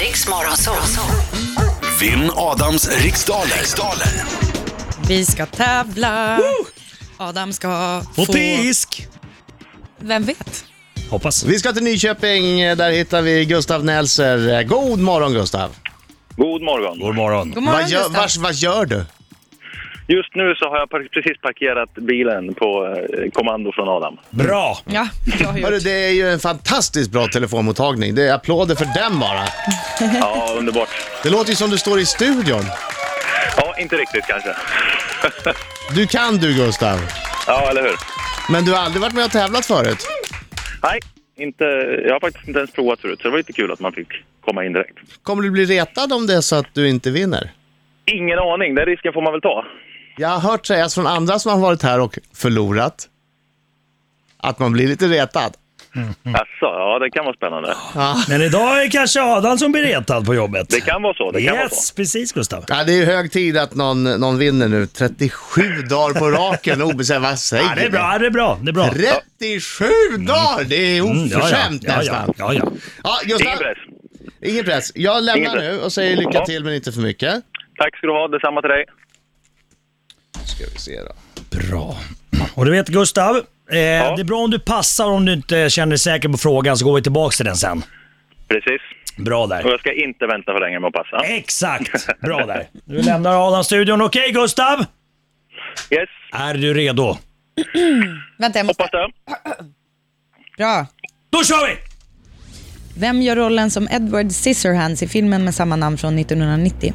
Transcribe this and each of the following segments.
Riksmorgon så, så. Vinn Adams riksdaler. riksdaler. Vi ska tävla. Adam ska På få... pisk! Vem vet? Hoppas. Vi ska till Nyköping, eh, där hittar vi Gustav Nelser. Eh, God morgon Gustav! God morgon. God morgon. God morgon, vad, gör, Gustav. vars, vad gör du? Just nu så har jag par- precis parkerat bilen på eh, kommando från Adam. Bra! Ja, bra Hörru, gjort. det är ju en fantastiskt bra telefonmottagning. Det är applåder för den bara. Ja, underbart. Det låter ju som du står i studion. Ja, inte riktigt kanske. Du kan du Gustav, Ja, eller hur? men du har aldrig varit med och tävlat förut. Nej, inte, jag har faktiskt inte ens provat förut, så det var lite kul att man fick komma in direkt. Kommer du bli retad om det är så att du inte vinner? Ingen aning, den risken får man väl ta. Jag har hört sägas från andra som har varit här och förlorat att man blir lite retad. Jaså, ja det kan vara spännande. Men idag är det kanske Adam som blir retad på jobbet. Det kan vara så, det kan vara så. yes, precis Gustav. Ja, det är ju hög tid att någon, någon vinner nu. 37 dagar på raken obesegrad. Vad säger Ja, det är bra, ja, det är bra, det är bra. 37 dagar! Det är Mm, ja, ja, oförskämt ja, ja, nästan. ja, ja. Ja, Ingen Gustav, press. ingen press. Jag lämnar Ingen press. nu och säger lycka Ja. till men inte för mycket. Tack ska du ha, detsamma till dig. Ska vi se då. Bra. Och du vet Gustav, eh, det är bra om du passar om du inte känner dig säker på frågan så går vi tillbaka till den sen. Precis. Bra Och där. jag ska inte vänta för länge med att passa. Exakt, bra där. Nu lämnar Adam studion. Okej Gustav, Yes, är du redo? Vänta, jag måste... hoppas det. Bra. Då kör vi! Vem gör rollen som Edward Scissorhands i filmen med samma namn från 1990?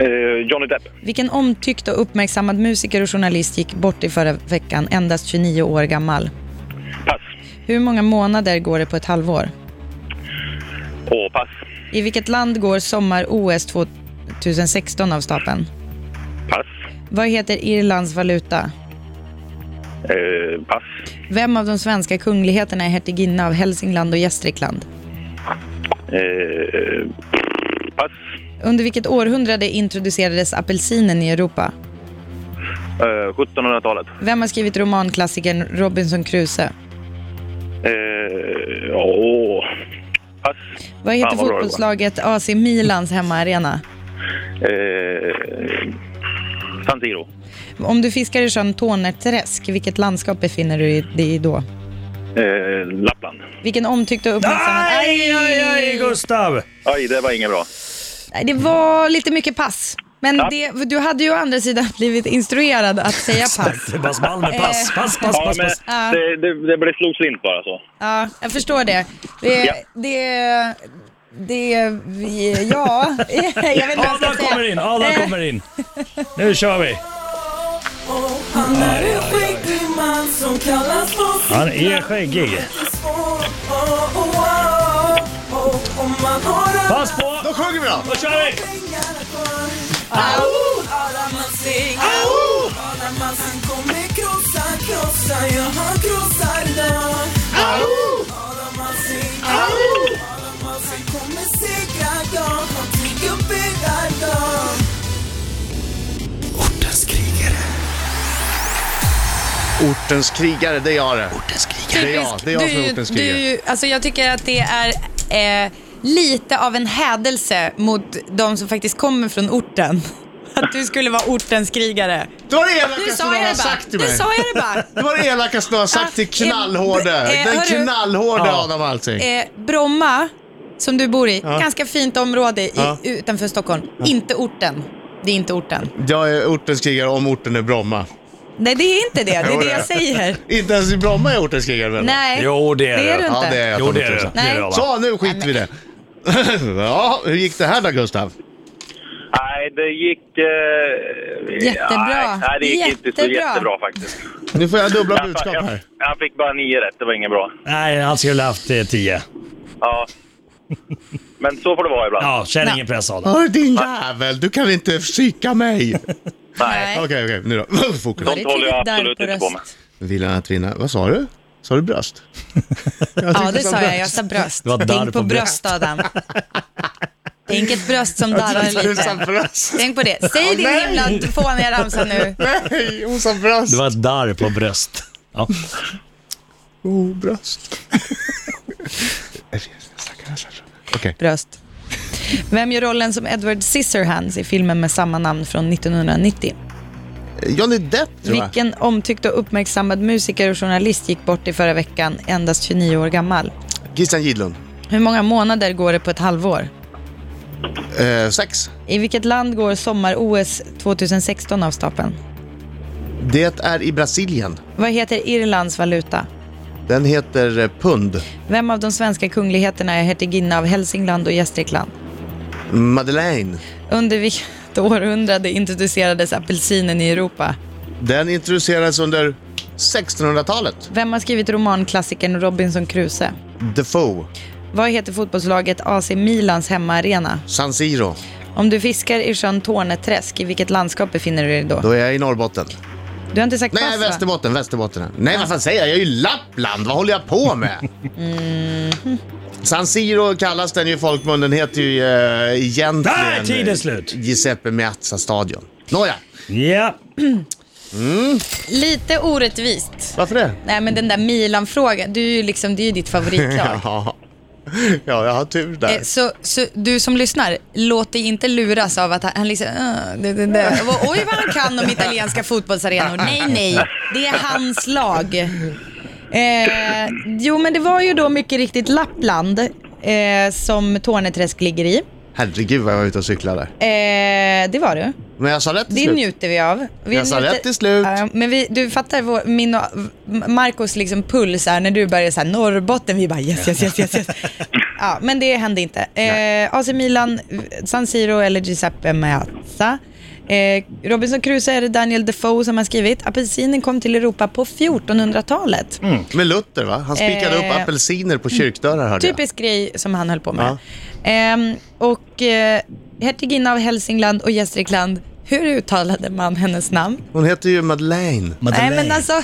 Eh, Johnny Depp. Vilken omtyckt och uppmärksammad musiker och journalist gick bort i förra veckan, endast 29 år gammal? Pass. Hur många månader går det på ett halvår? Åh, pass. I vilket land går sommar-OS 2016 av stapeln? Pass. Vad heter Irlands valuta? Eh, pass. Vem av de svenska kungligheterna är hertiginna av Hälsingland och Gästrikland? Eh, pass. Under vilket århundrade introducerades apelsinen i Europa? Eh, 1700-talet. Vem har skrivit romanklassikern Robinson Crusoe? Eh, åh. Pass. Vad heter Fan, vad bra det var. fotbollslaget AC Milans hemmaarena? Eh, San Siro. Om du fiskar i sjön Tåneträsk, vilget landskap befinner du dig i då? Eh, Lappland. Vilken omtyckt och uppmärksammad... Aj, aj, aj Gustav! Aj, det var inget bra. Nej, Det var lite mycket pass. Men det, du hade ju å andra sidan blivit instruerad att säga pass. Det är Bas Malmer, pass, pass, pass, Ja, pass, men pass. Ah. det, det, det blev slog slint bara så. Ja, jag förstår det. Det... Ja. det det, vi- ja, jag vet inte vad jag ska Adam säga. kommer in, Adam Eh, kommer in. Nu kör vi! Han är en skäggig man som kallas för Han är skäggig. Sisus. Oh, oh, oh, oh, oh. Om man har alla Pass på! Då sjunger vi då! Då kör vi! pengar kvar. Alla man svingar. Alla man han kommer krossa, krossa. Ja, han krossar dem. Alla man svingar. Alla man sen kommer segra dem. Han trygguppbyggar dem. Ortens krigare. Ortens krigare, det är jag det. Ortens krigare. Det är jag, det är jag som är ortens krigare. du, alltså jag tycker att det är eh, lite av en hädelse mot de som faktiskt kommer från orten. Att du skulle vara ortens krigare. Det var det Nu elakaste sa någon jag har det bara. sagt till Nu mig. sa jag det bara. Det var det elakaste någon har sagt till Ah, eh, knallhårde. eh, Den hörru. knallhårde Ja. Adam Alsing. Eh, Bromma, som du bor i, ganska fint område i, Ja. utanför Stockholm. Inte orten. Det är inte orten. Jag är ortens krigare om orten är Bromma. Nej, det är inte det. Det Jo, är det det är. jag säger. Inte ens i Bromma är ortens krigare väl? Nej, Jo, det är det är det. du Ja, inte. det är jag. Jo, det är det. Nej. Det är det, Adam. Så, nu skiter vi i det. ja, hur gick det här då Gustav? Nej, det gick... Eh, Jättebra. Nej, nej, det gick inte så Jättebra. jättebra faktiskt. Nu får jag dubbla Jag, budskap jag, här. jag fick bara nio rätt, det var inget bra. Nej, han skulle ha haft eh, 10. Ja. Men så får det vara ibland. Ja, känn Nej. ingen press Adam. Hör din jävel, du kan inte psyka mig. Okej, Nej. okej, nu då. Fokus. Sånt håller jag där absolut på inte på med. Vill han att vinna? Vad sa du? Sa du bröst? Jag Ja, tyckte det som sa jag. Jag bröst. sa bröst. Det var darr Tänk på på bröst, Adam. Tänk ett bröst som darrar Du sa lite. bröst. Tänk på det. Säg din nej. himla fåniga ramsa nu. Nej, hon sa bröst. Det var ett darr på bröst. Ja. Oh, bröst. Okej. Bröst. Vem gör rollen som Edward Scissorhands i filmen med samma namn från 1990? Johnny Depp tror jag. Vilken omtyckt och uppmärksammad musiker och journalist gick bort i förra veckan, endast 29 år gammal? Christian Gidlund. Hur många månader går det på ett halvår? Eh, sex. I vilket land går sommar-OS 2016 av stapeln? Det är i Brasilien. Vad heter Irlands valuta? Den heter eh, pund. Vem av de svenska kungligheterna är hertiginna av Hälsingland och Gästrikland? Madeleine. Under vilket århundrade introducerades apelsinen i Europa? Den introducerades under 1600-talet. Vem har skrivit romanklassikern Robinson Crusoe? Defoe. Vad heter fotbollslaget AC Milans hemmaarena? San Siro. Om du fiskar i sjön Torneträsk, i vilket landskap befinner du dig då? Då är jag i Norrbotten. Du har inte sagt Nej, pass, va? Västerbotten. Västerbotten. Nej, vad fan säger jag? Jag är ju i Lappland. Vad håller jag på med? Mm. San Siro kallas den ju i folkmunnen. Den heter ju eh, egentligen... Där är tiden slut. Giuseppe Meazza-stadion. Nåja, Ja. Lite orättvist. varför det? Nej, men den där Milan-frågan, du är ju liksom, det är ju ditt favoritlag. Ja. ja, jag har tur där. Eh, Så, så du som lyssnar, låt dig inte luras av att han- han liksom... "Ah, det, det, det. Och, Oj vad han kan om italienska fotbollsarenor. Nej, nej, det är hans lag. Eh, jo, men det var ju då mycket riktigt Lappland eh, som Torneträsk ligger i. Herregud vad jag var ute och cyklade. Eh, det var du. Men jag sa rätt till Det slut. njuter vi av. Vi Jag sa njuter- rätt till slut. Ja, men vi, du fattar vår, min och Marcos liksom puls här när du börjar så här Norrbotten. Vi bara yes, yes, yes, yes. yes. ja, men det hände inte. Eh, AC Milan, San Siro eller Giuseppe Meazza. Eh, Robinson Crusoe är det Daniel Defoe som har skrivit. Apelsinen kom till Europa på 1400-talet. Med Luther va? Han spikade Eh, Typ upp apelsiner på kyrkdörrar hörde jag. Typisk grej som han höll på med. Ehm, och eh, hertiginna av Hälsingland och Gästrikland, hur uttalade man hennes namn? Hon heter ju Madeleine. Madeleine. Nej men alltså,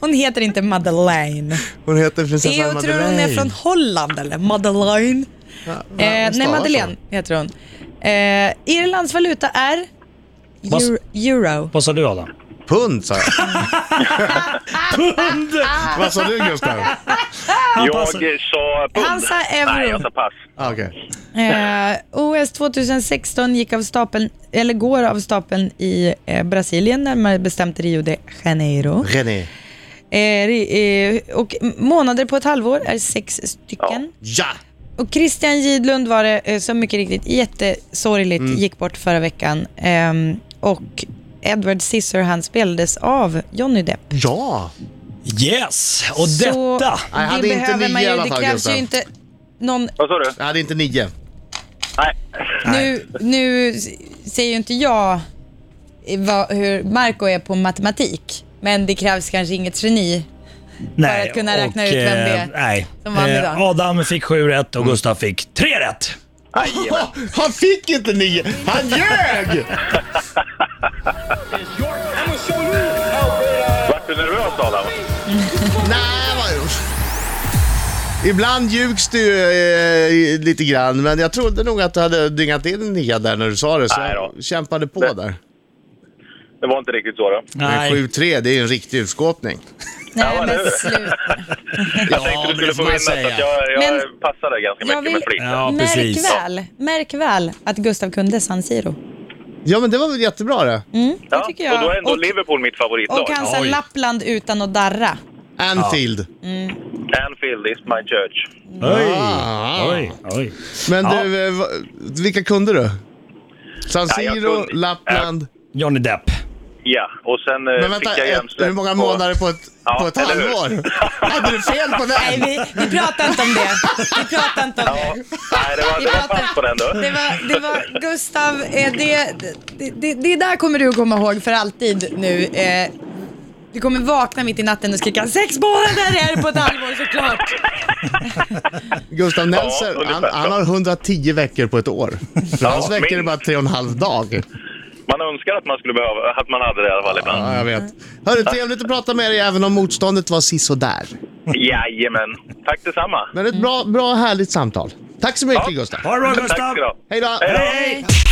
hon heter inte Madeleine. Hon heter prinsessan Jag tror Madeleine. hon är från Holland eller? Madeleine. Eh, nej, stavar Madeleine heter hon. Eh, Irlands valuta är Vad s- Euro. euro. Vad sa du Adam? Pund sa jag. Pund! Vad sa du Gustav? Han Jag passar. eh, sa pund. Han sa euro. Nej, jag sa pass. Ah, Okej. Eh, OS 2016 gick av stapeln, eller går av stapeln i eh, Brasilien, närmare bestämt Rio de Janeiro. René. Eh, ri- eh, och månader på ett halvår är sex stycken. Ja! Och Christian Gidlund var det eh, som mycket riktigt jättesorgligt Mm. gick bort förra veckan. Ehm, och Edward Scissorhands spelades av Johnny Depp. Ja! Yes! Och Så detta! Nej, han det hade inte behöver nio man i ju. alla Det fall, krävs Gustav. ju inte någon... Vad sa du? Jag hade inte nio. Nej. Nu, nu säger ju inte jag eh, vad, hur Marco är på matematik, men det krävs kanske inget geni. Nej, att kunna räkna ut vem det är eh, nej. som vann Eh, idag. Adam fick sju rätt och Gustav fick tre rätt. Ah, Han fick inte nio! Han ljög! Vart du nervös Adam? Nej, vad... Ibland ljugs du eh, lite grann, men jag trodde nog att du hade dyngat in en nia där när du sa det, så Nej då. jag kämpade på Det- där. Det var inte riktigt så då. Men 7-3, det är ju en riktig utskåpning. Nej, Ja, men det- sluta. Jag tänkte det du skulle får få man vinna så säga. att jag, jag Men- passade ganska Jag mycket med vill- flit. Ja, märk, precis. väl, märk väl att Gustav kunde San Siro. Ja, men det var väl jättebra det. Det tycker jag. Och då är ändå Och- Liverpool mitt favoritlag. Och han sa Oj. Lappland utan att darra. Anfield. Anfield is my church. Oj, Ah. oj, oj. Men Ja. du, eh, va- vilka kunde du? San Ja, jag Siro, kunde- Lappland. Johnny Depp. Ja, och sen eh, Men vänta, fick jag ett, hjärnsläpp hur många på- månader på ett, Ja, på ett eller hur? halvår? Hade du fel på Nej, den? vi, vi pratar inte om det. Vi pratar inte om Ja, det. nej, det var, det var pass på den då. Det var, det var Gustav, eh, det, det, det, det där kommer du att komma ihåg för alltid nu. Eh, Du kommer vakna mitt i natten och skrika sex månader är det på ett halvår såklart. Gustav Nelser, ungefär han, så. han har 110 veckor på ett år. För Ja, hans veckor är minst. bara tre och en halv dag. Man önskar att man skulle behöva, att man hade det i alla fall ibland. Ja, jag vet. Hörru, trevligt att prata med dig även om motståndet var sisådär. Jajamän. Tack detsamma. Men ett bra, bra härligt samtal. Tack så mycket Ja. Gustav. Ha det bra Gustav! Tack ska du ha. Hej då! Hej då. Hej!